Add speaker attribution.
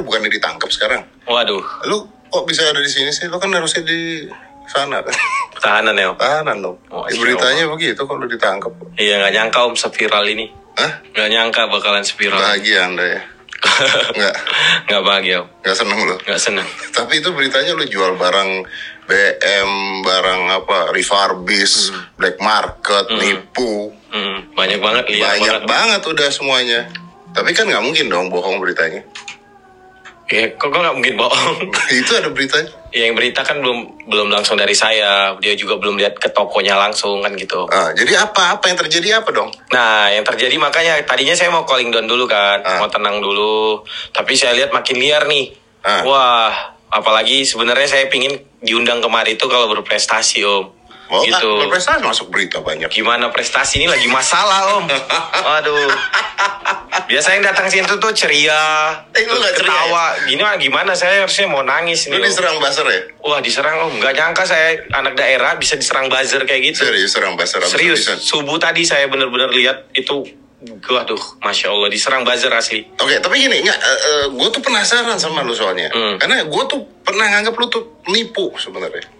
Speaker 1: bukannya ditangkap sekarang
Speaker 2: Waduh,
Speaker 1: lu kok bisa ada di sini sih lu kan harusnya di sana kan
Speaker 2: tahanan ya om.
Speaker 1: tahanan dong
Speaker 2: Oh,
Speaker 1: Di
Speaker 2: iya,
Speaker 1: beritanya begitu kalau ditangkap
Speaker 2: Iya nggak nyangka om seviral ini.
Speaker 1: Hah?
Speaker 2: Nggak nyangka bakalan seviral.
Speaker 1: bahagia anda ya nggak
Speaker 2: Nggak bahagia om.
Speaker 1: nggak seneng lu
Speaker 2: Nggak seneng.
Speaker 1: tapi itu beritanya lu jual barang BM barang apa refurbish
Speaker 2: Hmm.
Speaker 1: black market nipu
Speaker 2: Mm, banyak banget Hmm. iya
Speaker 1: banyak banget udah semuanya tapi kan nggak mungkin dong bohong beritanya
Speaker 2: Iya, kok kok nggak mungkin bohong?
Speaker 1: itu ada beritanya
Speaker 2: Ya, yang berita kan belum belum langsung dari saya. Dia juga belum lihat ke tokonya langsung kan gitu.
Speaker 1: Ah, jadi apa apa yang terjadi apa dong
Speaker 2: Nah, yang terjadi makanya tadinya saya mau calling down dulu kan,
Speaker 1: Ah.
Speaker 2: mau tenang dulu. Tapi saya lihat makin liar nih.
Speaker 1: Ah.
Speaker 2: Wah, apalagi sebenarnya saya pingin diundang kemari itu kalau berprestasi om.
Speaker 1: Mau gitu.
Speaker 2: gitu.
Speaker 1: berprestasi masuk berita banyak.
Speaker 2: Gimana prestasi ini lagi masalah om? Aduh. Biasa yang datang sini tuh ceria,
Speaker 1: Eh, lu nggak ceria,
Speaker 2: ketawa. Gini ah, gimana saya harusnya mau nangis
Speaker 1: Lu
Speaker 2: nih. Om.
Speaker 1: diserang buzzer ya?
Speaker 2: Wah diserang om, nggak nyangka saya anak daerah bisa diserang buzzer kayak gitu.
Speaker 1: Serius serang buzzer abis
Speaker 2: Serius,
Speaker 1: habisan.
Speaker 2: subuh tadi saya bener-bener lihat itu, gua tuh, masya Allah diserang buzzer asli.
Speaker 1: Oke, tapi gini, eh, nggak, gue tuh penasaran sama lu soalnya,
Speaker 2: Hmm.
Speaker 1: karena gue tuh pernah nganggap lu tuh nipu sebenarnya.